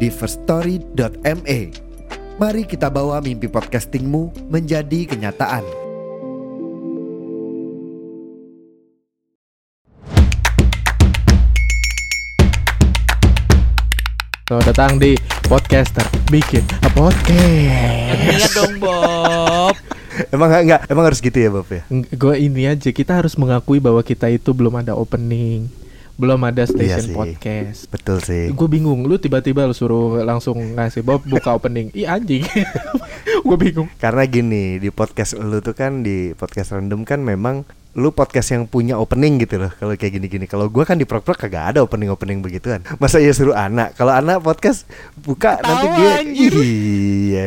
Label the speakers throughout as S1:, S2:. S1: di firststory.me. Mari kita bawa mimpi podcastingmu menjadi kenyataan.
S2: Selamat datang di podcaster bikin eh, podcast.
S3: Iya dong Bob.
S4: Emang nggak nggak- emang harus gitu ya Bob ya?
S2: Gue ini aja kita harus mengakui bahwa kita itu belum ada opening, belum ada
S4: Iya
S2: station
S4: sih.
S2: podcast.
S4: Betul sih.
S2: Gue bingung, lu tiba-tiba lu suruh langsung ngasih Bob buka opening. Ih anjing. Gue bingung.
S4: Karena gini di podcast lu tuh kan di podcast random kan memang lu podcast yang punya opening gitu loh kalau kayak gini-gini kalau gua kan di prok prok kagak ada opening opening begituan masa ya suruh anak kalau anak podcast buka nanti
S3: Ketawa,
S4: dia
S3: anjir.
S4: iya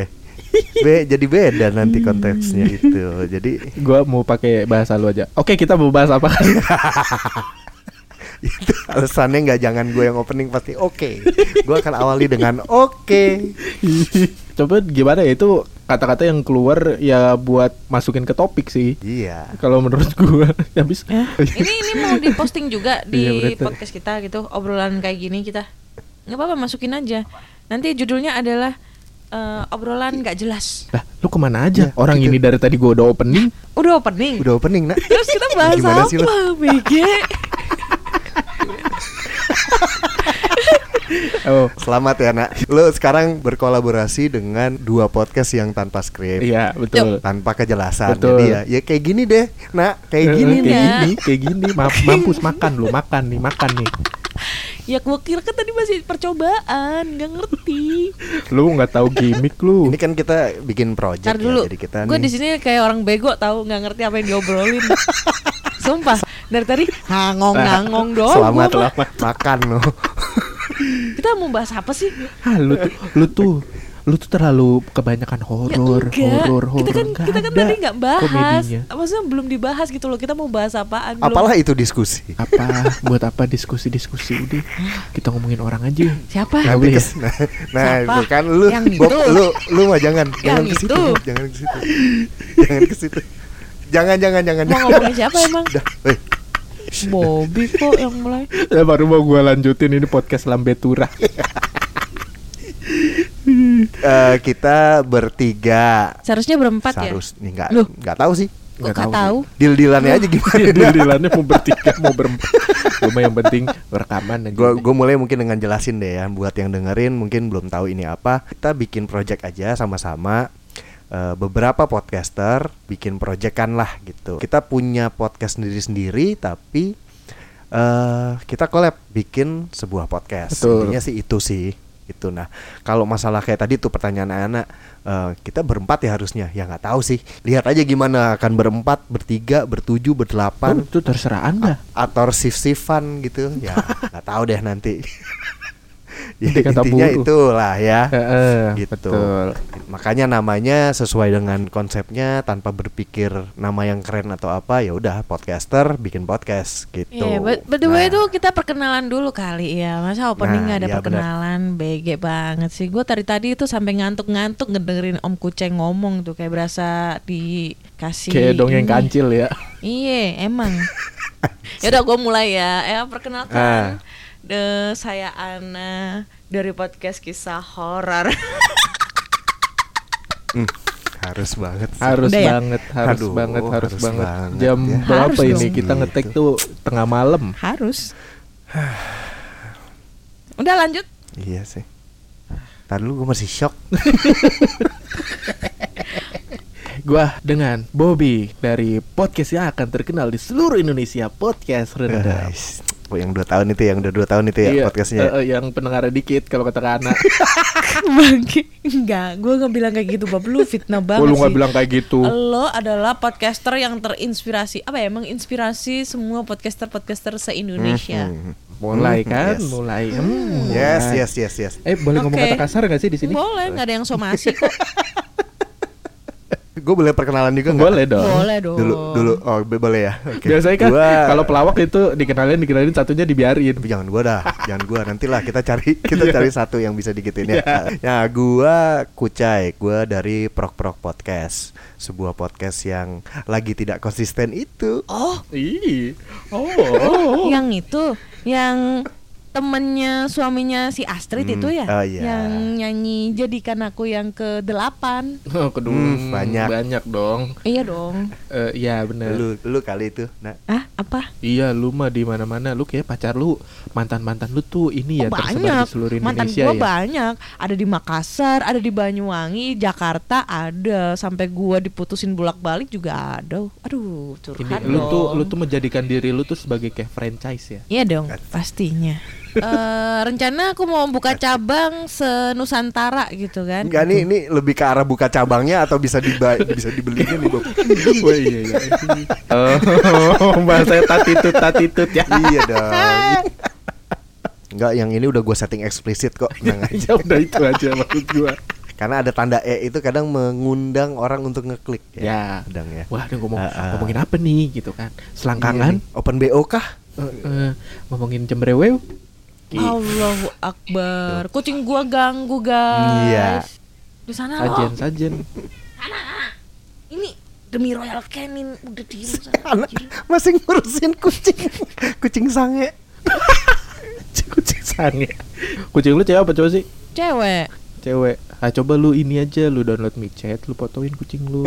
S4: Be, jadi beda nanti konteksnya
S1: Hmm.
S4: itu jadi
S2: Gue mau pakai bahasa lu aja. Oke, kita mau bahas apa?
S4: itu alasannya nggak jangan gue yang opening pasti oke gua akan awali dengan oke
S2: Coba gimana ya itu kata-kata yang keluar ya buat masukin ke topik sih.
S4: iya
S2: Kalau menurut gue habis
S3: Ini ini mau diposting juga
S2: Iya,
S3: di
S2: bener tuh.
S3: podcast kita gitu obrolan kayak gini kita. Nggak apa-apa masukin aja. Nanti judulnya adalah eh, obrolan nggak jelas.
S2: Lah, lu kemana aja?
S4: Ya,
S2: Orang
S4: gitu.
S2: ini dari tadi gua udah opening.
S3: Udah opening.
S4: udah opening nak
S3: Terus kita bahas
S4: Gimana sih lu?
S3: apa? BG.
S2: Oh,
S4: Selamat ya nak Lo sekarang berkolaborasi dengan dua podcast yang tanpa skrip
S2: iya betul.
S4: Tanpa kejelasan
S2: Betul.
S4: Jadi ya, ya kayak gini deh Nak kayak
S2: Eh,
S4: gini nih
S2: kayak
S3: Nak.
S2: gini, kayak gini. Ma- mampus makan lu, makan nih, makan nih.
S3: Ya gua kira kan tadi masih percobaan, nggak ngerti.
S2: Lu nggak tahu gimmick lu.
S4: Ini kan kita bikin project
S3: Ntar dulu.
S4: ya Jadi kita
S3: Gue
S4: nih
S3: di sini kayak orang bego tahu nggak ngerti apa yang diobrolin. Sumpah dari tadi hangong ngangong doang. gua
S4: Nah, Selamat
S3: mah.
S4: lah Makan lo
S3: Kita mau bahas apa sih?
S2: Ah, lu tuh, lu tuh lu tuh terlalu kebanyakan
S3: Ya
S2: horor,
S3: enggak.
S2: horor, horor.
S3: Kita kan
S2: Nggak
S3: kita kan
S2: ada
S3: tadi nggak bahas. Ah,
S2: komedinya.
S3: Maksudnya belum dibahas gitu loh. Kita mau bahas apaan? Belum.
S4: Apalah itu diskusi
S2: Apa buat apa diskusi-diskusi udah. Kita ngomongin orang aja.
S3: Siapa?
S2: Nggak
S4: Nanti
S2: boleh ya?
S4: kes- Nah, nah
S3: Siapa?
S4: bukan lu
S3: Yang
S4: Bob,
S3: itu.
S4: lu lu mah jangan jangan
S3: Yang
S4: ke situ
S3: itu.
S4: Bob, jangan ke situ jangan ke situ jangan jangan jangan
S3: Mau ngomongin siapa emang?
S4: Dah, weh.
S3: Bobby kok yang mulai.
S2: Ya baru mau gua lanjutin ini podcast Lambetura.
S4: Eh, kita bertiga
S3: Seharusnya berempat ya.
S4: Seharus nih nggak
S3: Loh.
S4: nggak tahu sih
S3: Kok nggak tahu?
S4: Deal-dealannya aja gimana
S2: Dilannya mau bertiga, mau berempat. Cuma yang penting rekaman aja.
S4: Gue gue mulai mungkin dengan jelasin deh ya buat yang dengerin mungkin belum tahu ini apa. Kita bikin project aja sama-sama. Eh, beberapa podcaster bikin proyekan lah gitu. Kita punya podcast sendiri-sendiri tapi eh kita collab bikin sebuah podcast.
S2: Betul.
S4: Intinya sih itu sih itu nah kalau masalah kayak tadi tuh pertanyaan anak eh, kita berempat ya harusnya ya nggak tahu sih lihat aja gimana akan berempat bertiga bertujuh
S2: Oh,
S4: berdelapan
S2: itu terserah anda
S4: atau sif-sifan gitu ya nggak tahu deh nanti ya,
S2: Nanti kata
S4: intinya
S2: buku.
S4: itulah ya
S2: Heeh,
S4: gitu
S2: betul.
S4: makanya namanya sesuai dengan konsepnya tanpa berpikir nama yang keren atau apa ya udah podcaster bikin podcast gitu
S3: Iya, but, but the way
S4: Nah,
S3: itu kita perkenalan dulu kali ya. Masa opening
S4: Nah,
S3: nggak ada
S4: iya, benar.
S3: perkenalan, BG banget sih. Gue tadi tadi itu sampai ngantuk-ngantuk ngedengerin Om Kuceng ngomong tuh kayak berasa dikasih.
S2: Kayak dongeng
S3: ini.
S2: kancil ya.
S3: Iya, emang. ya udah gue mulai ya. Eh perkenalkan
S4: Ah.
S3: de, saya Ana dari podcast kisah horor.
S4: harus banget sih.
S2: Harus
S3: Udah ya?
S2: banget, harus
S4: Aduh,
S2: banget, harus,
S4: harus
S2: banget.
S4: banget
S2: Jam
S4: ya.
S2: berapa
S3: Harus
S2: ini
S3: dong.
S2: kita
S4: Gitu.
S2: ngetek tuh tengah malam.
S3: Harus. udah lanjut.
S4: iya sih Tadi lu gue masih shock
S2: Gua dengan Bobby dari podcast yang akan terkenal di seluruh Indonesia, podcast Rendam.
S4: guys Oh, yang dua tahun itu ya, yang udah dua tahun itu ya podcastnya
S2: eh, eh, yang pendengarnya dikit kalau kata Kana.
S3: Bangke. Enggak, gue nggak bilang kayak gitu, Bob. Lu fitnah banget
S2: Oh, lu nggak
S3: sih.
S2: bilang kayak gitu.
S3: Lo adalah
S2: hmm.
S3: podcaster yang terinspirasi apa ya? Menginspirasi semua podcaster-podcaster se-Indonesia.
S4: Mhm.
S2: mulai
S4: Hmm,
S2: kan
S4: yes.
S2: mulai hmm,
S4: Yes,
S2: mulai.
S4: yes, yes, yes.
S2: eh boleh ngomong
S3: Oke.
S2: kata kasar gak sih di sini
S3: Boleh, nggak ada yang somasi kok.
S4: Gue boleh perkenalan juga nggak?
S2: boleh dong
S3: Boleh dong.
S4: Dulu, dulu. Oh, be- boleh ya. Oke.
S2: biasanya kan
S4: Gua-
S2: kalau pelawak itu dikenalin dikenalin satunya dibiarin
S4: tapi jangan gua dah, jangan gua. Nantilah kita cari kita
S2: Iya.
S4: cari satu yang bisa digituin ya. Nah, gua Kucai, gua dari Prok Prok Podcast, sebuah podcast yang lagi tidak konsisten itu.
S3: Oh, Ya.
S2: Ih, oh, oh, oh.
S3: yang itu, yang temennya suaminya si Astrid
S4: Hmm,
S3: itu ya,
S2: Ah,
S4: oh iya.
S3: yang nyanyi jadikan aku yang ke delapan.
S2: Oh, kedua
S4: Hmm, banyak.
S2: banyak dong.
S3: Iya dong.
S2: Eh, Iya
S4: Nah,
S2: bener
S4: Lu lu kali itu. Nah,
S3: Ah, apa?
S2: Iya, lu mah di mana-mana. Lu kayak pacar lu, mantan-mantan lu tuh ini ya
S3: Oh,
S2: tersebar
S3: banyak.
S2: di seluruh
S3: Mantan
S2: Indonesia
S3: gua
S2: ya.
S3: banyak. Ada di Makassar, ada di Banyuwangi, Jakarta ada. Sampai gua diputusin bolak-balik juga ada. Aduh,
S2: Ini
S3: curhat
S2: lu
S3: dong.
S2: tuh lu tuh menjadikan diri lu tuh sebagai kayak franchise ya.
S3: Iya dong, pastinya. Eh, rencana aku mau buka cabang senusantara gitu kan.
S4: enggak nih ini lebih ke arah buka cabangnya atau bisa diba bisa dibelinya nih, Bob?
S2: Wah iya iya. oh, bahasa tatitut tatitut ya.
S4: iya dong. Enggak, yang ini udah gua setting eksplisit kok. Nah, Tenang aja.
S2: Ya udah itu aja maksud gua.
S4: Karena ada tanda E itu kadang mengundang orang untuk ngeklik
S2: Ya.
S4: Kadang ya.
S2: Wah, dia ngomong
S4: Ah, ah.
S2: ngomongin apa nih gitu kan.
S4: Iya
S2: Selangkangan,
S4: nih. Open BO kah?
S2: eh, eh, ngomongin Gitu. jembrewew.
S3: Allahu Akbar. Kucing gua ganggu, guys.
S4: Iya.
S3: Di sana lo.
S2: Sajen sajen.
S3: Ini demi Royal Canin udah di sana.
S4: Anak masih ngurusin kucing kucing sange
S2: Kucing sange. Kucing lu cewek apa cowok sih?
S3: Cewek.
S2: cewek ah coba lu ini aja lu download micet lu fotoin kucing lu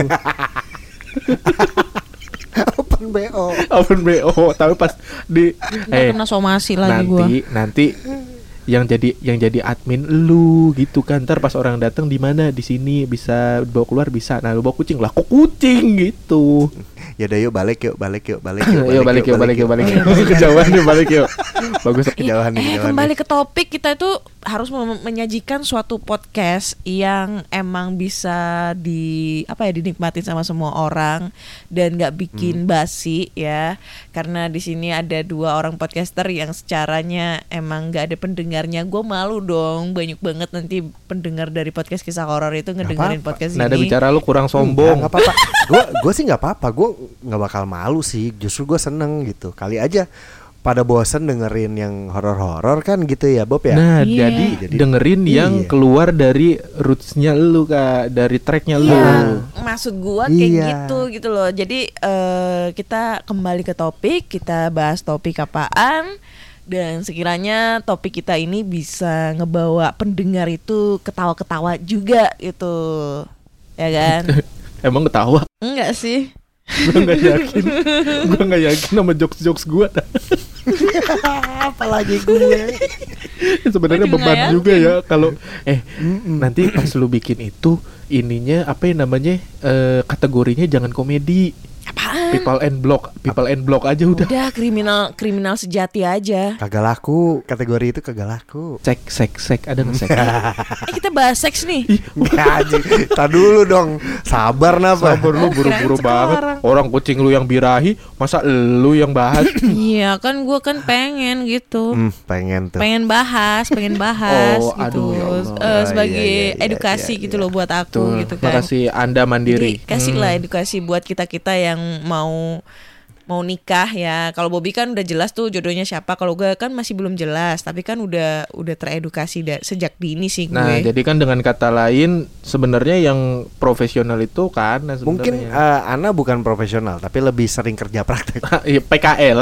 S4: open bo
S2: open bo Oh, tapi pas di
S3: Ntar
S2: eh
S3: kena somasi lagi gua.
S2: nanti nanti yang jadi yang jadi admin lu gitu kan ntar pas orang datang di mana di sini bisa bawa keluar bisa nah lu bawa kucing lah kok kucing gitu
S4: ya udah yuk balik yuk balik yuk balik
S2: yuk balik yuk balik yuk balik yuk kejauhan yuk balik yuk bagus
S3: Ih,
S4: Kejauhan nih,
S3: eh,
S4: kejauhan
S3: kembali ke topik kita itu harus mem- menyajikan suatu podcast yang emang bisa di apa ya dinikmatin sama semua orang dan nggak
S4: Hmm.
S3: bikin basi ya karena di sini ada dua orang podcaster yang secaranya emang nggak ada pendengarnya gue malu dong banyak banget nanti pendengar dari podcast kisah horor itu ngedengerin
S4: apa-apa.
S3: podcast
S2: nah ada
S3: ini
S2: bicara lu kurang
S4: sombong
S2: sombong
S4: nggak apa-apa gue gue sih nggak apa-apa gue nggak bakal malu sih justru gue seneng gitu kali aja pada bosen dengerin yang horor-horor kan gitu ya Bob ya
S2: Nah,
S3: Iya.
S2: jadi
S4: Jadi-
S2: dengerin yang
S4: Iya.
S2: keluar dari rootsnya lu kak, dari tracknya lu.
S3: Iya, maksud gua kayak
S4: Iya.
S3: gitu gitu loh. Jadi eh, kita kembali ke topik, kita bahas topik apaan dan sekiranya topik kita ini bisa ngebawa pendengar itu ketawa-ketawa juga gitu. Ya kan?
S2: Emang ketawa?
S3: Enggak sih.
S2: gue nggak yakin gue nggak yakin sama jokes jokes gue
S4: apalagi gue
S2: sebenarnya
S3: Gua juga nggak
S2: beban juga ya kalau eh nanti pas lu bikin itu ininya apa yang namanya eh, kategorinya jangan komedi
S3: Apaan?
S2: people and block people and block aja udah
S3: Udah kriminal kriminal sejati aja.
S4: kagak laku kategori itu kagak laku
S2: cek cek cek ada nggak cek
S3: Eh kita bahas seks nih.
S2: Ih,
S4: Ya, anjing. Tar dulu dong sabar napa
S2: sabar lu buru-buru
S3: Kirain
S2: banget
S3: sekarang.
S2: orang kucing lu yang birahi masa lu yang bahas
S3: Iya kan gua kan pengen gitu.
S4: Hmm, pengen tuh
S3: pengen bahas, pengen bahas
S2: Oh,
S3: gitu
S2: aduh, ya Allah.
S3: Eh, sebagai
S4: Iya, iya, iya,
S3: edukasi
S4: iya,
S3: gitu
S4: iya.
S3: loh buat aku
S2: tuh
S3: gitu kan.
S2: makasih anda mandiri Hmm.
S3: Jadi kasihlah edukasi buat kita kita yang mau mau nikah ya. Kalau Bobby kan udah jelas tuh jodohnya siapa. Kalau gue kan masih belum jelas, tapi kan udah udah teredukasi da- sejak dini sih gue.
S2: Nah, jadi kan dengan kata lain sebenarnya yang profesional itu kan nah,
S4: Mungkin
S2: sebenarnya.
S4: eh, Ana bukan profesional tapi lebih sering kerja praktek.
S2: Iya, PKL.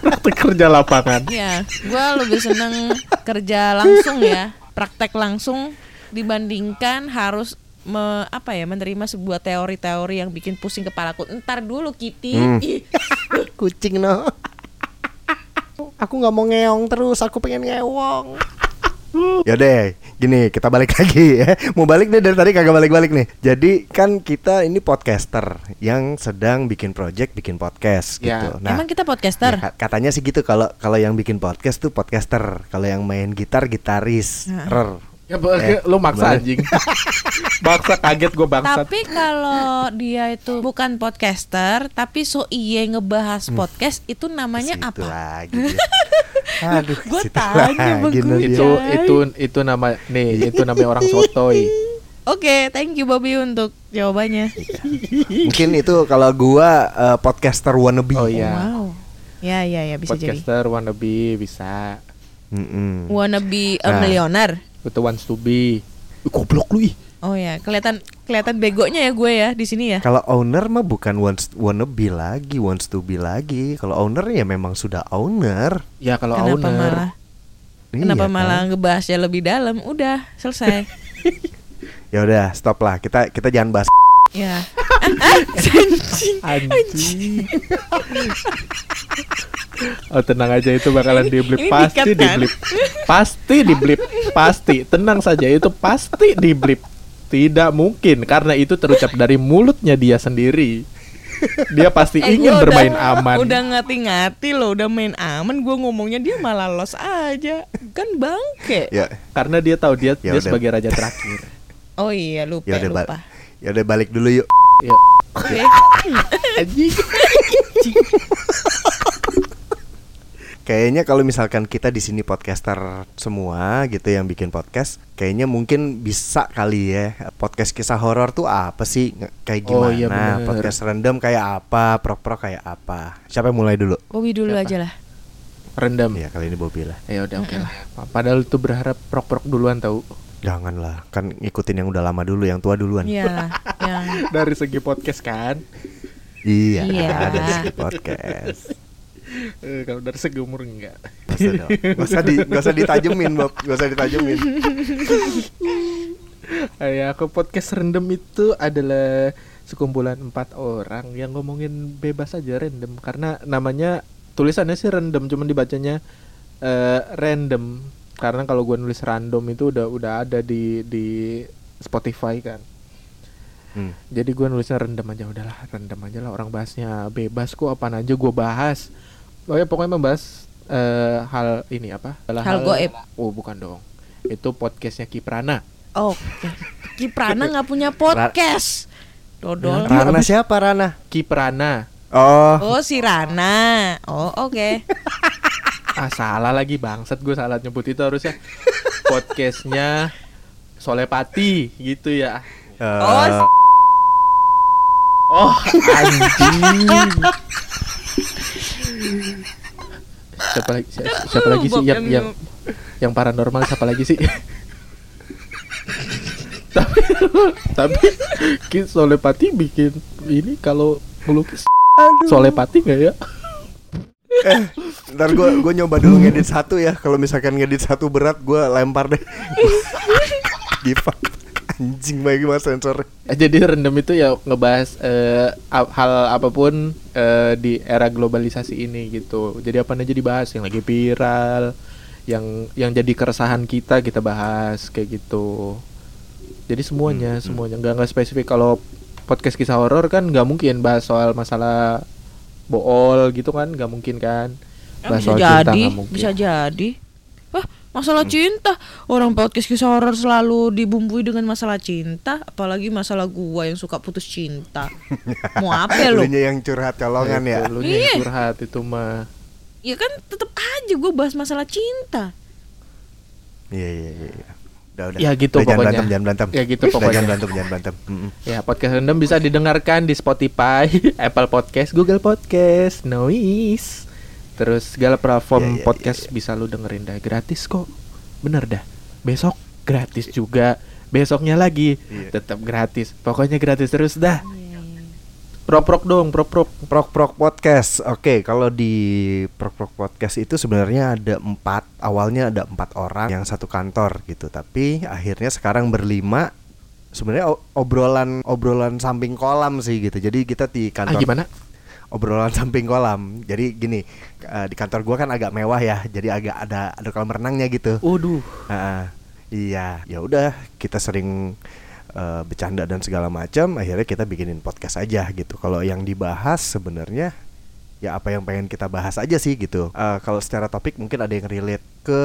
S2: Praktek kerja lapangan.
S3: ya, gue lebih seneng kerja langsung ya, praktek langsung dibandingkan harus me- apa ya menerima sebuah teori-teori yang bikin pusing kepalaku. Ntar dulu Kitty.
S2: Hmm,
S3: Ih,
S4: Kucing no. aku nggak mau ngeong terus, aku pengen ngewong. Ya deh, gini kita balik lagi ya. Mau balik nih dari tadi kagak balik-balik nih. Jadi kan kita ini podcaster yang sedang bikin project, bikin podcast
S2: Ya.
S4: gitu. Nah,
S3: Emang kita
S2: iya
S3: podcaster?
S2: kan?
S4: ya, ka- katanya sih gitu kalau kalau yang bikin podcast tuh podcaster, kalau yang main gitar gitaris. Rer.
S2: Ya, lu maksa anjing. maksa kaget gue bangsat.
S3: Tapi kalau dia itu bukan podcaster, tapi so iye ngebahas
S2: Hmm.
S3: podcast itu namanya
S4: Situ
S3: apa?
S4: lagi dia. Aduh,
S3: Gue
S4: situ
S3: tanya
S4: lagi
S3: Bang
S4: Nadia.
S2: itu
S3: iya.
S2: itu itu nama nih itu namanya orang sotoy
S3: Oke, thank you Bobby untuk jawabannya.
S2: Iya.
S4: Mungkin itu kalau gua eh, podcaster wannabe.
S2: Oh, iya.
S3: Wow. Ya ya ya bisa jadi.
S2: podcaster wannabe bisa
S4: Mm-mm.
S3: Wanna be a
S4: Nah.
S3: millionaire.
S2: itu wants to be Ih, goblok lu ih
S3: Oh ya, kelihatan kelihatan begonya ya gue ya di sini ya.
S4: Kalau owner mah bukan wants wannabe lagi, wants to be lagi. Kalau owner ya memang sudah owner.
S2: ya kalau
S3: Kenapa
S2: owner
S3: malah
S4: Iya
S3: kenapa
S4: kan?
S3: malah ngebahasnya lebih dalam? Udah, selesai.
S4: Ya udah, stop lah. Kita kita jangan bahas.
S3: ya. Ah, ah, anjing.
S2: anjing oh tenang aja itu bakalan diblip
S3: ini
S2: pasti
S3: dikat, kan?
S2: diblip pasti diblip pasti tenang saja itu pasti diblip tidak mungkin karena itu terucap dari mulutnya dia sendiri dia pasti
S3: Eh,
S2: ingin
S3: gua udah-
S2: bermain aman
S3: Udah ngati-ngati loh, udah main aman. Gue ngomongnya dia malah los aja, kan bangke.
S4: Ya,
S2: karena dia tahu dia
S4: Ya
S2: dia
S4: udah.
S2: sebagai raja terakhir
S3: Oh iya lupa
S4: ya udah balik.
S3: lupa. Iya.
S4: Ya udah balik dulu yuk.
S2: Yuk.
S3: Oke.
S2: Ya. anjing
S4: Kayaknya kalau misalkan kita di sini podcaster semua gitu yang bikin podcast, kayaknya mungkin bisa kali ya podcast kisah horor tuh apa sih? Nge- Kayak gimana?
S2: Oh, iya bener.
S4: podcast random kayak apa? Prok-prok kayak apa? Siapa yang mulai dulu?
S3: Bobby dulu
S2: Siapa?
S3: aja lah.
S2: rendam
S4: Ya kali ini Bobby lah.
S2: ya udah oke lah Pa- padahal tuh berharap prok prok duluan tahu
S4: Janganlah, kan ngikutin yang udah lama dulu, yang tua duluan.
S3: Iya, yang
S2: dari segi podcast kan
S4: Iya,
S3: Iya.
S4: ada sih podcast.
S2: Eh, kalau dari segi umur enggak
S4: Gak usah, dong. Gak usah di, gak usah ditajemin, Bob. Gak usah ditajemin.
S2: Eh, ya, aku podcast random itu adalah sekumpulan empat orang yang ngomongin bebas aja random karena namanya tulisannya sih random cuman dibacanya eh, random karena kalau gua nulis random itu udah udah ada di di Spotify kan
S4: Hmm.
S2: jadi gua nulisnya rendam aja udahlah rendam aja lah orang bahasnya bebas kok apa aja gua bahas oh ya pokoknya membahas eh, hal ini apa Adalah
S3: Hal goib.
S2: oh bukan dong itu podcastnya Kiprana
S3: Oh, oke. Kiprana nggak punya podcast. Dodol.
S4: Rana siapa Rana?
S2: Kiprana
S4: Oh,
S3: Oh si Rana. Oh oke.
S2: ah salah lagi bangsat gue salah nyebut itu harusnya podcastnya Solepati gitu ya
S3: Oh,
S4: eh,
S2: oh anjing siapa lagi si- siapa lagi sih yang
S3: Bob yang-
S2: yang yang paranormal siapa lagi sih tapi tapi Ki Solepati bikin ini kalau melukis Solepati nggak ya
S4: ntar gue gue nyoba dulu ngedit satu ya. Kalau misalkan ngedit satu berat, gue lempar deh. Give up. Anjing bagi mas sensor.
S2: Eh, Jadi rendem itu ya ngebahas eh, ap- hal apapun eh, di era globalisasi ini gitu. Jadi apa aja dibahas yang lagi viral, yang yang jadi keresahan kita kita bahas kayak gitu. Jadi semuanya, semuanya nggak nggak spesifik. Kalau podcast kisah horor kan nggak mungkin bahas soal masalah bool gitu kan, nggak mungkin kan. Bahas
S3: bisa
S2: soal cinta
S3: jadi,
S2: nggak mungkin.
S3: bisa jadi. Wah masalah cinta. Orang podcast kisah horor selalu dibumbui dengan masalah cinta, apalagi masalah gua yang suka putus cinta. Mau
S2: ya
S3: apa ya lo?
S4: Dulunya yang curhat colongan ya.
S2: Lu nih
S3: Iya.
S2: curhat itu mah.
S3: Ya kan tetap aja gua bahas masalah cinta.
S4: Iya iya iya. iya. Udah udah.
S2: Ya gitu
S4: Udah,
S2: pokoknya.
S4: Jangan berantem, jangan berantem.
S2: Ya gitu
S4: Udah,
S2: pokoknya.
S4: Jangan berantem, jangan berantem. Mm-mm.
S2: Ya, podcast Random bisa didengarkan di Spotify, Apple Podcast, Google Podcast, Noise. Terus
S4: Ya,
S2: segala
S4: ya,
S2: platform
S4: ya,
S2: podcast bisa lu dengerin dah gratis kok. Bener dah. Besok gratis juga. Besoknya lagi
S4: Iya.
S2: tetap gratis. Pokoknya gratis terus dah. Prok-prok dong, prok-prok.
S4: Prok Prok Podcast. Oke, kalau di Prok Prok Podcast itu sebenarnya ada empat, awalnya ada empat orang yang satu kantor gitu, tapi akhirnya sekarang berlima. Sebenarnya o- obrolan obrolan samping kolam sih gitu. Jadi kita di
S2: Ah,
S4: kantor
S2: gimana?
S4: obrolan samping kolam. Jadi gini, eh, di kantor gua kan agak mewah ya, jadi agak ada ada kolam renangnya gitu.
S2: Waduh.
S4: Ah, iya, ya udah kita sering eh, bercanda dan segala macam. Akhirnya kita bikinin podcast aja gitu. Kalau yang dibahas sebenarnya ya apa yang pengen kita bahas aja sih gitu. Eh, kalau secara topik mungkin ada yang relate ke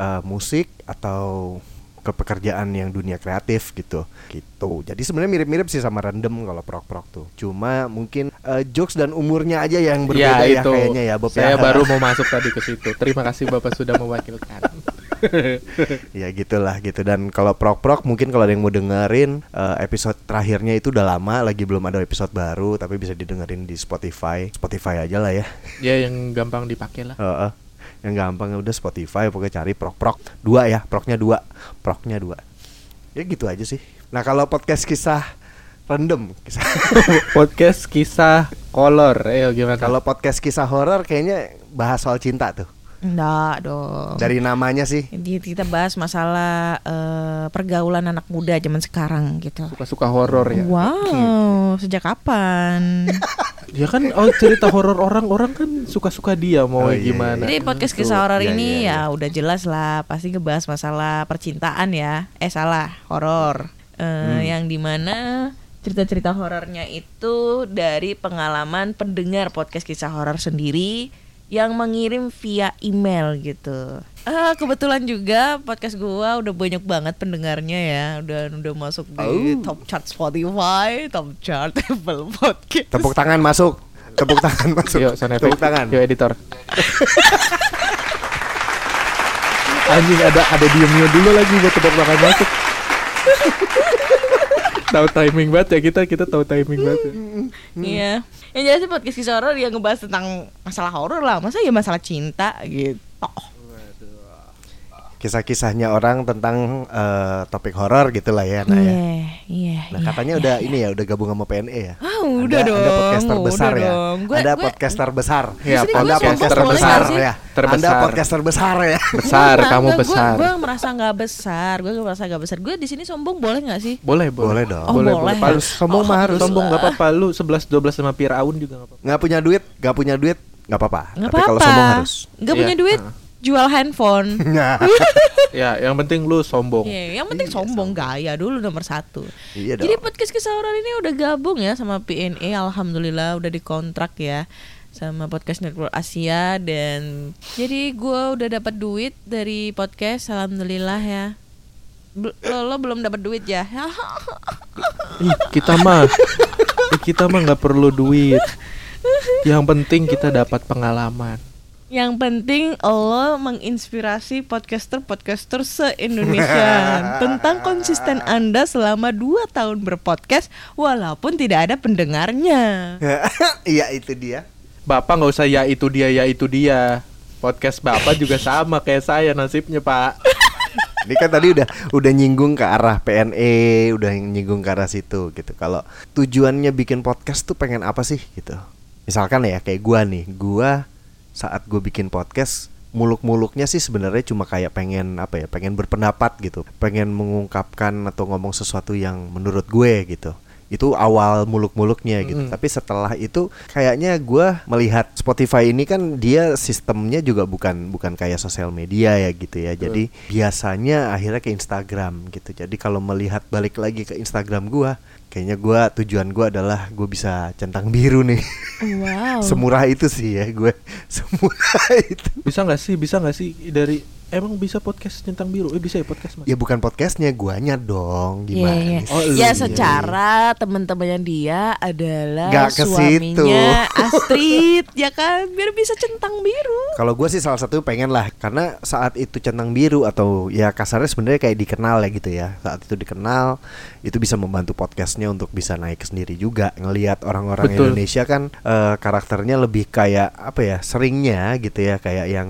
S4: eh, musik atau ke pekerjaan yang dunia kreatif gitu gitu jadi sebenarnya mirip-mirip sih sama random kalau prok-prok tuh cuma mungkin eh, jokes dan umurnya aja yang berbeda ya, kayaknya ya Bob
S2: Iya,
S4: ya.
S2: saya baru mau masuk tadi ke situ terima kasih bapak sudah mewakilkan
S4: ya gitulah gitu dan kalau prok-prok mungkin kalau ada yang mau dengerin eh, episode terakhirnya itu udah lama lagi belum ada episode baru tapi bisa didengerin di Spotify Spotify aja lah ya
S2: ya yang gampang dipakai lah
S4: Heeh. yang gampang udah Spotify pokoknya cari prok-prok dua ya proknya dua proknya dua ya gitu aja sih nah kalau podcast kisah random kisah
S2: podcast kisah kolor eh gimana
S4: kalau podcast kisah horor kayaknya bahas soal cinta tuh
S3: Enggak
S2: Oh.
S3: dong.
S4: dari namanya sih
S3: Jadi kita bahas masalah eh, pergaulan anak muda zaman sekarang gitu.
S2: suka-suka horor ya
S3: Wow, sejak kapan?
S2: Ya kan oh, cerita horor orang-orang kan suka-suka dia
S4: Oh,
S2: mau
S4: iya,
S2: gimana. Gitu.
S3: Jadi podcast kisah horor ini ya udah jelas lah, pasti ngebahas masalah percintaan ya. Eh salah, horor. Eh, Yang dimana cerita-cerita horornya itu dari pengalaman pendengar podcast kisah horor sendiri yang mengirim via email gitu. Ah kebetulan juga podcast gua udah banyak banget pendengarnya ya, udah udah masuk di top chart Spotify, top chart Apple Podcast.
S4: tepuk tangan masuk tepuk tangan masuk
S2: Yuk, sound effect.
S4: tepuk tangan
S2: Yuk editor. Anjing ada ada diemnya dulu lagi buat tebak tangan masuk. tahu timing banget ya kita kita tahu timing banget. ya.
S4: Hmm.
S3: Iya. Yang jelas sih podcast kisah horor yang ngebahas tentang masalah horor lah. Masa ya masalah cinta gitu.
S4: kisah-kisahnya orang tentang eh, topik horor gitulah ya nah ya
S3: iya.
S4: Nah katanya udah ini ya udah gabung sama PNE ya.
S3: Ah, udah
S4: Anda- Anda
S3: dong,
S4: podcaster
S3: udah
S4: besar ya.
S3: dong. Gua-
S4: Anda
S3: gua-
S4: podcaster besar.
S2: Ya, Di sini
S4: Anda
S2: gua
S4: podcaster
S2: ngomong boleh
S4: besar
S2: nggak sih?
S4: ya. Anda
S2: Terbesar.
S4: podcaster besar ya.
S2: Besar kamu besar.
S3: Gue merasa nggak besar. Gue merasa nggak besar. Gue di sini sombong boleh nggak sih?
S2: Boleh,
S4: Boleh
S2: boleh.
S4: dong.
S3: Oh,
S2: boleh,
S3: boleh.
S2: boleh. Harus sombong mah harus. Sombong enggak apa-apa lu 11 12 sama Firaun juga enggak apa-apa.
S4: Nggak punya duit, nggak punya duit, nggak apa-apa. Nah,
S3: Nggak
S4: Tapi kalau
S3: apa-apa.
S4: sombong harus.
S3: Nggak
S2: Iya.
S3: punya duit, jual handphone.
S4: Nah,
S2: ya, yang penting lu sombong.
S3: Iya, yang penting sombong gaya dulu nomor satu.
S4: Iya
S3: Jadi
S4: dong.
S3: podcast kisah orang ini udah gabung ya sama PNE, alhamdulillah udah dikontrak ya sama podcast Network Asia dan jadi gua udah dapat duit dari podcast, alhamdulillah ya. Bel- Lo, lo belum dapat duit ya?
S2: Ih, kita mah Ih, kita mah nggak perlu duit. Yang penting kita dapat pengalaman.
S3: yang penting lo menginspirasi podcaster-podcaster se-Indonesia tentang konsisten Anda selama 2 tahun berpodcast walaupun tidak ada pendengarnya.
S4: iya itu dia.
S2: Bapak nggak usah ya itu dia ya itu dia. Podcast Bapak juga sama kayak saya nasibnya, Pak.
S4: Ini kan tadi udah udah nyinggung ke arah PNE, udah nyinggung ke arah situ gitu. Kalau tujuannya bikin podcast tuh pengen apa sih gitu? Misalkan ya kayak gua nih, gua saat gue bikin podcast muluk-muluknya sih sebenarnya cuma kayak pengen apa ya, pengen berpendapat gitu, pengen mengungkapkan atau ngomong sesuatu yang menurut gue gitu. Itu awal muluk-muluknya gitu. Tapi setelah itu kayaknya gua melihat Spotify ini kan dia sistemnya juga bukan bukan kayak sosial media ya gitu ya. Jadi biasanya akhirnya ke Instagram gitu. Jadi kalau melihat balik lagi ke Instagram gua, kayaknya gua tujuan gua adalah gue bisa centang biru nih.
S3: Wow.
S4: Semurah itu sih ya gue. Semurah itu.
S2: Bisa nggak sih? Bisa nggak sih dari emang bisa podcast tentang biru? Eh bisa ya podcast, Mas.
S4: Ya bukan podcastnya, guanya dong.
S3: Iya,
S4: Gimana?
S3: iya.
S4: sih?
S2: Oh, lu.
S3: ya
S2: Iya.
S3: secara teman-temannya dia adalah
S4: Nggak ke situ.
S3: suaminya Astrid ya kan biar bisa centang biru.
S4: Kalau gue sih salah satu pengen lah karena saat itu centang biru atau ya kasarnya sebenarnya kayak dikenal ya gitu ya saat itu dikenal itu bisa membantu podcastnya untuk bisa naik sendiri juga ngelihat orang-orang
S2: Betul.
S4: Indonesia kan eh, karakternya lebih kayak apa ya seringnya gitu ya kayak yang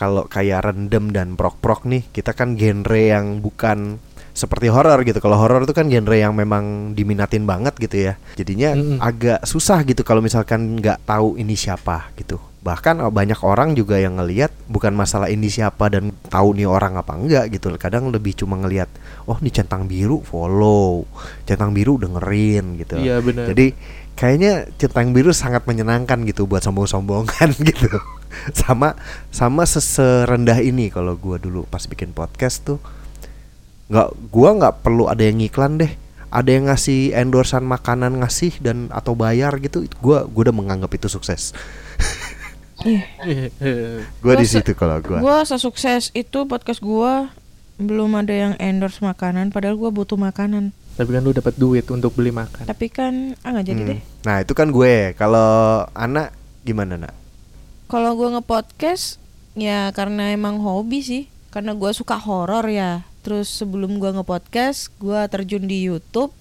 S4: kalau kayak rendem dan prok-prok nih kita kan genre yang bukan seperti horor gitu kalau horor itu kan genre yang memang diminatin banget gitu ya jadinya
S2: Mm-mm.
S4: agak susah gitu kalau misalkan nggak tahu ini siapa gitu bahkan banyak orang juga yang ngelihat bukan masalah ini siapa dan tahu nih orang apa enggak gitu kadang lebih cuma ngelihat oh nih centang biru follow centang biru dengerin gitu
S2: Iya, benar.
S4: jadi kayaknya centang biru sangat menyenangkan gitu buat sombong-sombongan gitu sama sama serendah ini kalau gua dulu pas bikin podcast tuh nggak gua nggak perlu ada yang ngiklan deh ada yang ngasih endorsean makanan ngasih dan atau bayar gitu itu gua gua udah menganggap itu sukses gua di
S3: Gua se-
S4: situ kalau gua
S3: Gue sesukses itu podcast gue belum ada yang endorse makanan padahal gua butuh makanan
S2: Tapi kan lu dapat duit untuk beli makan.
S3: tapi kan ah nggak jadi
S4: Hmm.
S3: deh
S4: Nah itu kan gue. Kalau anak gimana nak?
S3: kalau gua ngepodcast ya karena emang hobi sih karena gua suka horor ya terus sebelum gua ngepodcast gua terjun di YouTube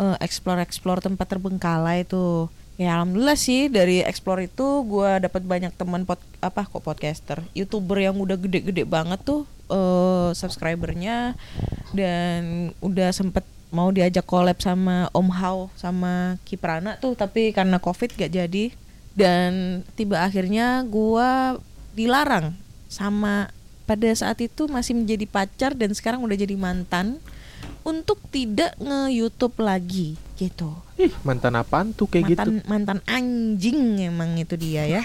S3: eh, explore explore tempat terbengkalai tuh ya alhamdulillah sih dari explore itu gua dapat banyak teman pod apa kok podcaster youtuber yang udah gede-gede banget tuh eh, subscribernya dan udah sempet mau diajak collab sama Om Hao sama Kiprana tuh tapi karena covid gak jadi dan tiba akhirnya gua dilarang sama pada saat itu masih menjadi pacar dan sekarang udah jadi mantan untuk tidak nge-YouTube lagi gitu.
S2: Ih, mantan apaan tuh kayak gitu?
S3: mantan mantan anjing emang itu dia ya.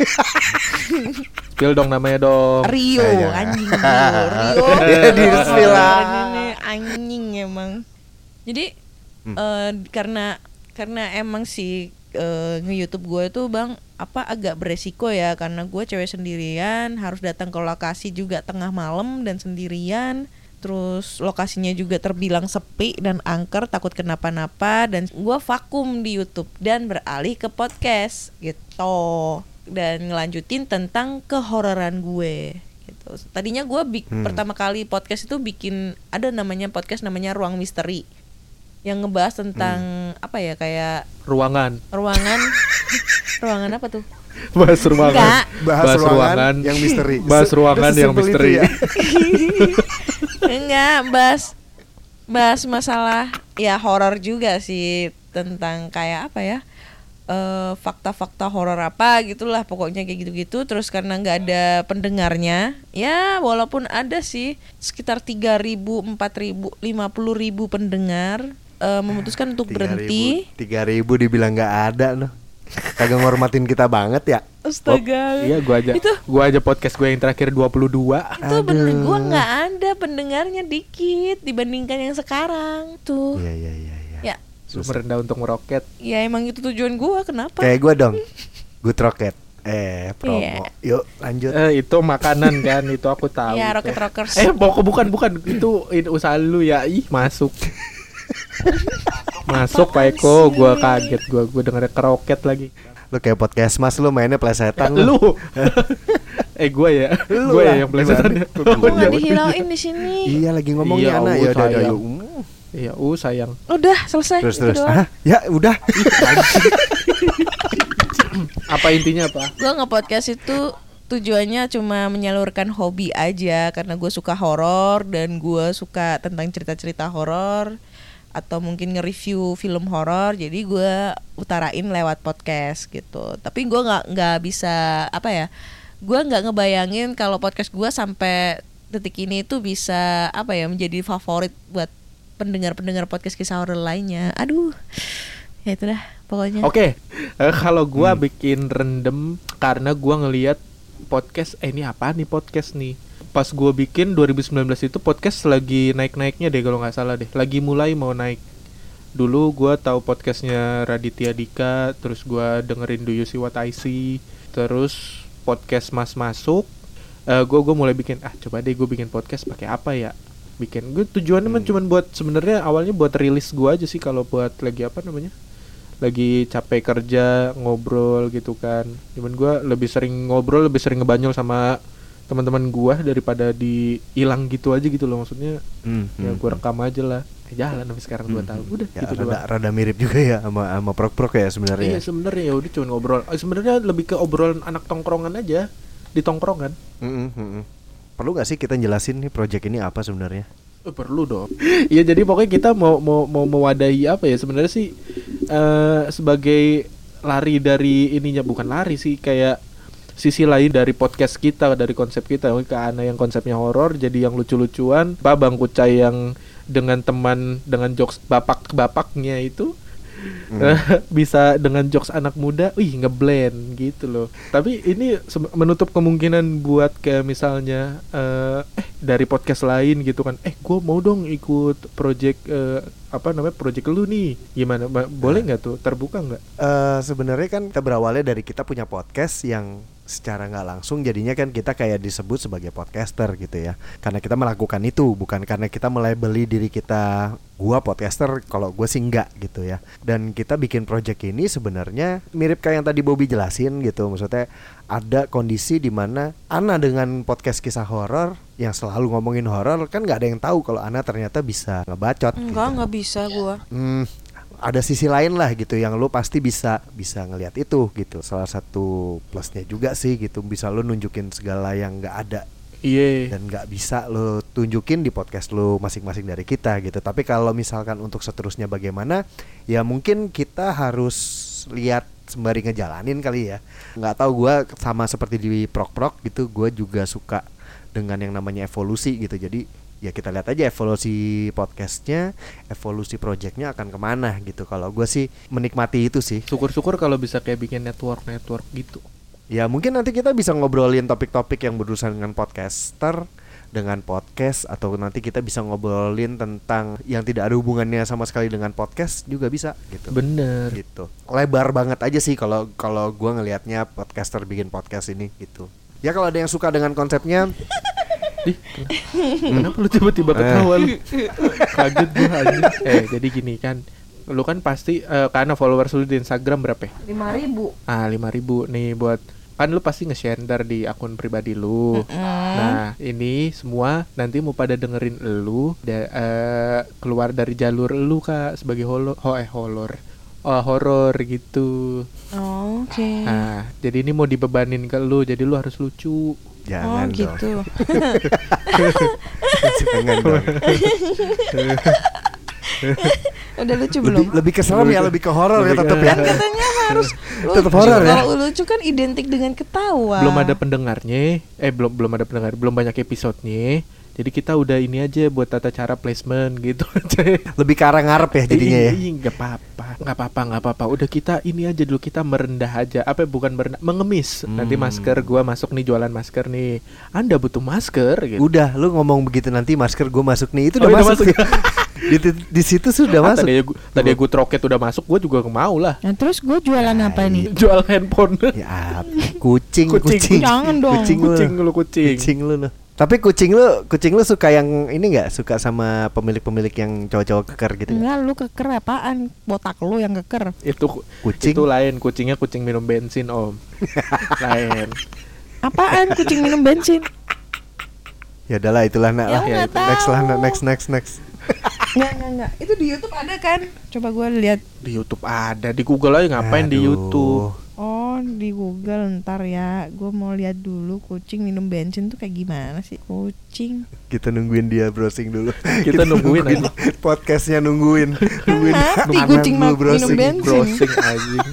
S2: Spill dong namanya dong.
S3: Rio
S4: saya jangan.
S3: anjing Rio. Rio.
S4: Ya, di spill lah.
S3: Ini anjing emang. Jadi eh, karena karena emang si eh, nge-youtube gue itu bang apa agak beresiko ya karena gue cewek sendirian harus datang ke lokasi juga tengah malam dan sendirian terus lokasinya juga terbilang sepi dan angker takut kenapa-napa dan gue vakum di YouTube dan beralih ke podcast gitu dan ngelanjutin tentang kehororan gue gitu. Tadinya gue bik- pertama kali podcast itu bikin ada namanya podcast namanya Ruang Misteri yang ngebahas tentang
S4: Hmm.
S3: apa ya kayak
S2: Ruangan.
S3: ruangan ruangan apa tuh?
S2: Bahas ruangan.
S3: Enggak.
S4: Bahas ruangan yang misteri.
S2: Bahas
S4: Se-
S2: ruangan
S4: sesimpel
S2: yang
S4: itu
S2: misteri.
S4: ya.
S3: Enggak, bahas bahas masalah ya horor juga sih tentang kayak apa ya? eh, fakta-fakta horor apa gitulah pokoknya kayak gitu-gitu terus karena nggak ada pendengarnya ya walaupun ada sih sekitar 3000 4000 50000 pendengar eh, memutuskan untuk berhenti
S4: Tiga ribu dibilang nggak ada loh. Kagak ngormatin kita banget ya.
S3: astaga
S2: Iya, gua aja.
S3: Itu-
S2: Gua aja podcast gua yang terakhir 22.
S3: itu bener gua nggak ada pendengarnya dikit dibandingkan yang sekarang tuh
S4: Iya iya iya. iya.
S3: ya
S2: Lu merendah untuk meroket.
S3: ya emang itu tujuan gua kenapa
S4: Kayak gue dong. Good Rocket. Eh promo. Yuk lanjut.
S2: Eh, itu makanan kan, itu aku tahu.
S3: Iya,
S2: itu.
S3: Rocket Rockers.
S2: Eh, pokok bukan bukan itu ini usaha lu ya. Ih, masuk. masuk Pak Eko, gua kaget gua gua denger keroket lagi.
S4: Lu kayak podcast mas lu mainnya plesetan
S2: lu. eh, gua ya.
S4: Lu
S2: gua ya
S4: lah,
S2: yang plesetan.
S4: gimana?
S2: Oh,
S3: Kok nggak
S2: iya.
S3: dihirauin di sini?
S4: Iya lagi ngomong
S2: Iya,
S4: ya anak
S2: Allah,
S4: ya udah udah,
S2: sayang.
S4: yuk. Mm.
S2: Iya, uh sayang.
S3: Udah selesai.
S4: Terus
S3: itu
S4: terus.
S3: Gitu doang.
S4: Hah? Ya udah.
S2: Apa intinya apa?
S3: Gue nge-podcast itu tujuannya cuma menyalurkan hobi aja karena gue suka horor dan gue suka tentang cerita-cerita horor atau mungkin nge-review film horor jadi gue utarain lewat podcast gitu tapi gue nggak nggak bisa apa ya gue nggak ngebayangin kalau podcast gue sampai detik ini itu bisa apa ya menjadi favorit buat pendengar-pendengar podcast kisah horor lainnya aduh ya itulah pokoknya
S2: Oke, eh, kalau gua bikin rendem karena gua ngelihat podcast eh ini apa nih podcast nih. Pas gua bikin 2019 itu podcast lagi naik-naiknya deh kalau nggak salah deh. Lagi mulai mau naik. Dulu gua tahu podcastnya Raditya Dika, terus gua dengerin Do You See What I See, terus podcast Mas Masuk. Eh gua gua mulai bikin ah coba deh gue bikin podcast pakai apa ya? Bikin gue tujuannya mah cuman buat sebenarnya awalnya buat rilis gua aja sih kalau buat lagi apa namanya? lagi capek kerja ngobrol gitu kan cuman gua lebih sering ngobrol lebih sering ngebanyol sama teman-teman gua daripada di hilang gitu aja gitu loh maksudnya
S4: Hmm,
S2: ya gue rekam aja lah Eh, jalan sampai sekarang dua tahun udah
S4: Ya,
S2: gitu
S4: rada,
S2: doang
S4: rada mirip juga ya sama sama prok-prok ya sebenarnya.
S2: iya sebenarnya ya udah cuman ngobrol Eh, sebenarnya lebih ke obrolan anak tongkrongan aja di tongkrongan
S4: Mm-mm, mm-mm. hmm, Perlu nggak sih kita jelasin nih project ini apa sebenarnya?
S2: Eh, perlu dong. Iya jadi pokoknya kita mau mau mau mewadahi apa ya sebenarnya sih eh sebagai lari dari ininya bukan lari sih kayak sisi lain dari podcast kita dari konsep kita ke Ana yang konsepnya horor jadi yang lucu-lucuan Pak Bang Kucai yang dengan teman dengan jokes bapak-bapaknya itu eh, bisa dengan jokes anak muda, wih ngeblend gitu loh. Tapi ini se- menutup kemungkinan buat kayak misalnya eh eh, dari podcast lain gitu kan, eh gue mau dong ikut project eh, apa namanya project lu nih, gimana? Nah. Ba- Boleh nggak tuh? Terbuka nggak?
S4: Eh sebenarnya kan kita berawalnya dari kita punya podcast yang secara nggak langsung jadinya kan kita kayak disebut sebagai podcaster gitu ya karena kita melakukan itu bukan karena kita melabeli diri kita gua podcaster kalau gue sih enggak gitu ya dan kita bikin project ini sebenarnya mirip kayak yang tadi Bobby jelasin gitu maksudnya ada kondisi di mana Ana dengan podcast kisah horor yang selalu ngomongin horor kan nggak ada yang tahu kalau Ana ternyata bisa ngebacot
S5: Enggak,
S4: gitu.
S5: enggak bisa gua.
S4: Hmm, ada sisi lain lah gitu yang lu pasti bisa bisa ngelihat itu gitu. Salah satu plusnya juga sih gitu bisa lu nunjukin segala yang nggak ada
S2: Iya.
S4: dan nggak bisa lu tunjukin di podcast lu masing-masing dari kita gitu. Tapi kalau misalkan untuk seterusnya bagaimana ya mungkin kita harus lihat sembari ngejalanin kali ya. Nggak tahu gua sama seperti di prok-prok gitu gua juga suka dengan yang namanya evolusi gitu. Jadi ya kita lihat aja evolusi podcastnya, evolusi projectnya akan kemana gitu. Kalau gue sih menikmati itu sih.
S2: Syukur-syukur kalau bisa kayak bikin network-network gitu.
S4: Ya mungkin nanti kita bisa ngobrolin topik-topik yang berurusan dengan podcaster dengan podcast atau nanti kita bisa ngobrolin tentang yang tidak ada hubungannya sama sekali dengan podcast juga bisa gitu.
S2: Bener.
S4: gitu. Lebar banget aja sih kalau kalau gua ngelihatnya podcaster bikin podcast ini gitu. Ya kalau ada yang suka dengan konsepnya
S2: Ih, kenapa lu tiba-tiba ketawa lu? Kaget gue aja. Eh, jadi gini kan, lu kan pasti eh, karena followers lu di Instagram berapa? ya?
S5: 5000.
S2: Ah, 5000 nih buat kan lu pasti nge-share ntar di akun pribadi lu. Nah, ini semua nanti mau pada dengerin lu da- eh, keluar dari jalur lu Kak sebagai holo ho eh horor. Oh, horor gitu.
S5: Oh, oke.
S3: Iya.
S4: Ah,
S2: Nah, jadi ini mau dibebanin ke lu, jadi lu harus lucu.
S5: Oh,
S4: jangan dong.
S5: gitu.
S4: Jangan dong.
S5: Udah lucu
S4: Lebih,
S5: belum?
S4: lebih ke serem ya, lebih ke horor ya tetap ya.
S5: Katanya harus
S4: Tetep
S5: lucu.
S4: horor ya?
S5: Kalau lucu kan identik dengan ketawa.
S2: belum ada pendengarnya eh belum belum ada pendengar belum banyak episodenya jadi kita udah ini aja buat tata cara placement gitu aja
S4: Lebih ke arah ngarep ya jadinya ya.
S2: Ih, ih, nggak apa-apa nggak apa-apa nggak apa-apa udah kita ini aja dulu kita merendah aja apa bukan merendah mengemis nanti
S4: Hmm.
S2: masker gua masuk nih jualan masker nih anda butuh masker gitu
S4: Udah, lu ngomong begitu nanti masker gue masuk nih. Itu
S2: Oh,
S4: udah
S2: iya, udah
S4: masuk.
S2: masuk.
S4: di, di- di situ sudah
S2: Ah,
S4: masuk.
S2: tadi aja gua, tadi aja gua troket udah masuk gua juga mau lah
S5: Nah, terus gue jualan apa
S4: iya,
S5: nih?
S2: jual handphone
S4: Ya, kucing, kucing.
S2: Kucing,
S5: jangan dong.
S4: Kucing lu.
S2: kucing lu kucing,
S4: Kucing lu. lu. Tapi kucing lu, kucing lu suka yang ini nggak? Suka sama pemilik-pemilik yang cowok-cowok keker gitu nggak?
S5: Enggak, lu keker apaan? Botak lu yang keker.
S2: itu
S4: Kucing.
S2: itu lain kucingnya kucing minum bensin om lain
S5: Apaan kucing minum bensin?
S4: Ya udahlah itulah nak
S5: Ya,
S4: lah.
S5: aku nggak tahu.
S4: Next lah, nak. next next next.
S5: Enggak, enggak, enggak. Itu di YouTube ada kan? Coba gue lihat.
S2: Di YouTube ada, di Google aja ngapain di
S4: Aduh.
S2: YouTube.
S5: Oh, di Google ntar ya. Gue mau lihat dulu kucing minum bensin tuh kayak gimana sih? Kucing.
S4: Kita nungguin dia browsing dulu.
S2: Kita nungguin aja.
S4: podcastnya nungguin. nungguin
S5: mati
S4: anak
S5: kucing
S4: dulu
S5: mati minum bensin.
S2: Browsing anjing.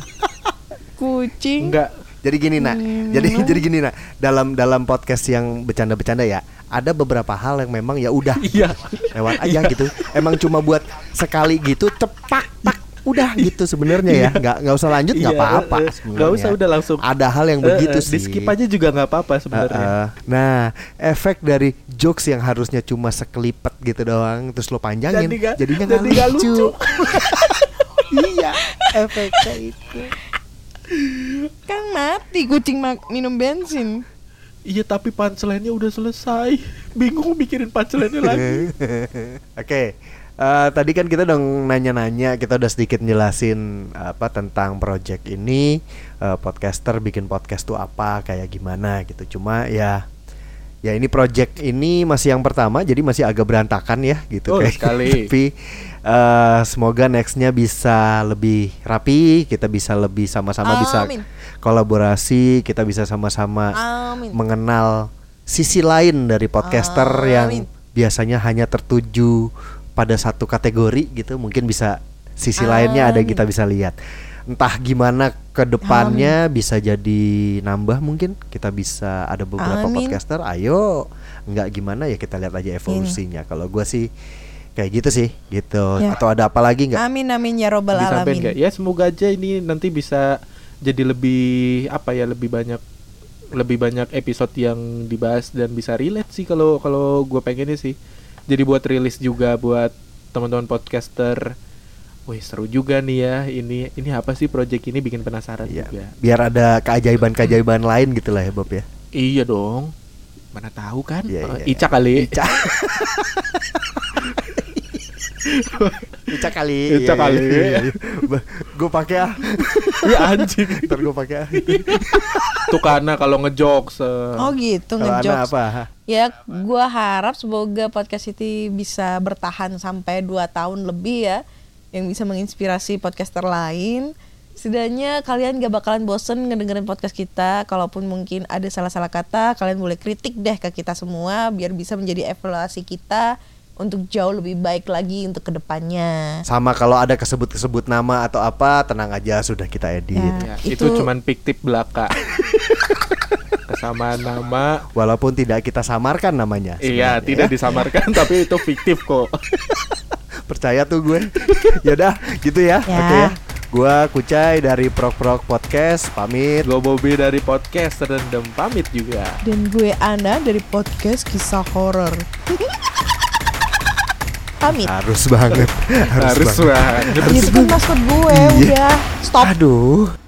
S5: Kucing.
S2: Enggak.
S4: Jadi gini nak,
S2: Hmm.
S4: jadi jadi gini nak. Dalam dalam podcast yang bercanda-bercanda ya, ada beberapa hal yang memang ya udah
S2: Iya.
S4: lewat aja gitu. Emang cuma buat sekali gitu, cepak tak udah gitu sebenarnya ya. Nggak nggak usah lanjut nggak
S2: Iya,
S4: apa-apa.
S2: eh, eh.
S4: sebenarnya.
S2: Nggak usah, udah langsung.
S4: Ada hal yang begitu
S2: Eh, eh,
S4: sih.
S2: Di skip aja juga nggak apa-apa sebenarnya.
S4: Heeh. Nah, efek dari jokes yang harusnya cuma sekelipet gitu doang, terus lo panjangin,
S2: Jadi nggak-
S4: jadinya
S2: jadi nggak
S4: nggak lucu.
S2: lucu.
S4: iya, efeknya itu.
S5: Kan mati kucing ma- minum bensin.
S2: Iya, tapi punchline-nya udah selesai. Bingung mikirin punchline-nya lagi.
S4: Oke, eh, tadi kan kita udah nanya-nanya, kita udah sedikit jelasin apa tentang project ini, eh, podcaster bikin podcast tuh apa, kayak gimana gitu. Cuma ya, ya ini project ini masih yang pertama, jadi masih agak berantakan ya gitu.
S2: Oh,
S4: kayak.
S2: sekali.
S4: Tapi eh, semoga nextnya bisa lebih rapi, kita bisa lebih sama-sama bisa
S5: Amin.
S4: kolaborasi, kita bisa sama-sama
S5: Amin. Ah,
S4: mengenal sisi lain dari podcaster yang biasanya hanya tertuju pada satu kategori gitu mungkin bisa sisi lainnya ada kita bisa lihat entah gimana ke depannya bisa jadi nambah mungkin kita bisa ada beberapa
S5: Amin. Iya.
S4: podcaster ayo nggak gimana ya kita lihat aja evolusinya kalau gua sih kayak gitu sih gitu
S5: Ya.
S4: atau ada apa lagi nggak
S5: Amin amin ya robbal
S2: Disampaikan nggak?
S5: alamin.
S4: Iya.
S2: Ya, semoga aja ini nanti bisa jadi lebih apa ya, lebih banyak lebih banyak episode yang dibahas dan bisa relate sih kalau kalau gue pengennya sih. Jadi buat rilis juga buat teman-teman podcaster Wih seru juga nih ya ini ini apa sih project ini bikin penasaran
S4: Iya.
S2: juga.
S4: Biar ada keajaiban-keajaiban lain gitu lah ya Bob ya.
S2: Iya dong. Mana tahu kan?
S4: Iya,
S2: Eh,
S4: iya, iya.
S2: Ica kali.
S4: Ica. Ica kali. Iya.
S2: Ica kali.
S4: Gue pakai ah.
S2: Iya anjing.
S4: Ntar gue pakai ah.
S2: Tuh karena kalau ngejokes. eh.
S3: Oh gitu
S4: Kalau Ana
S3: ngejokes.
S4: apa?
S3: Ya gua harap semoga podcast ini bisa bertahan sampai 2 tahun lebih ya yang bisa menginspirasi podcaster lain. Setidaknya kalian gak bakalan bosen ngedengerin podcast kita Kalaupun mungkin ada salah-salah kata Kalian boleh kritik deh ke kita semua Biar bisa menjadi evaluasi kita Untuk jauh lebih baik lagi untuk kedepannya
S4: Sama kalau ada kesebut-kesebut nama atau apa, tenang aja sudah kita edit.
S2: Ya,
S3: Ya.
S2: itu,
S4: gitu.
S3: Itu-
S2: cuman fiktif belaka. Kesamaan nama.
S4: Walaupun tidak kita samarkan namanya.
S2: Iya,
S4: sebenarnya
S2: tidak
S4: ya.
S2: disamarkan tapi itu fiktif kok.
S4: Percaya tuh gue. Yaudah, gitu ya.
S3: Ya.
S4: Oke ya. Gue Kucai dari Prok Prok Podcast pamit.
S2: Gue Bobby dari podcast Serendam pamit juga.
S3: Dan gue Ana dari podcast kisah horor Pamit
S4: Harus banget. Harus,
S2: Harus
S4: banget.
S2: banget.
S3: é, um Itu kan maksud gue udah Stop
S4: Aduh.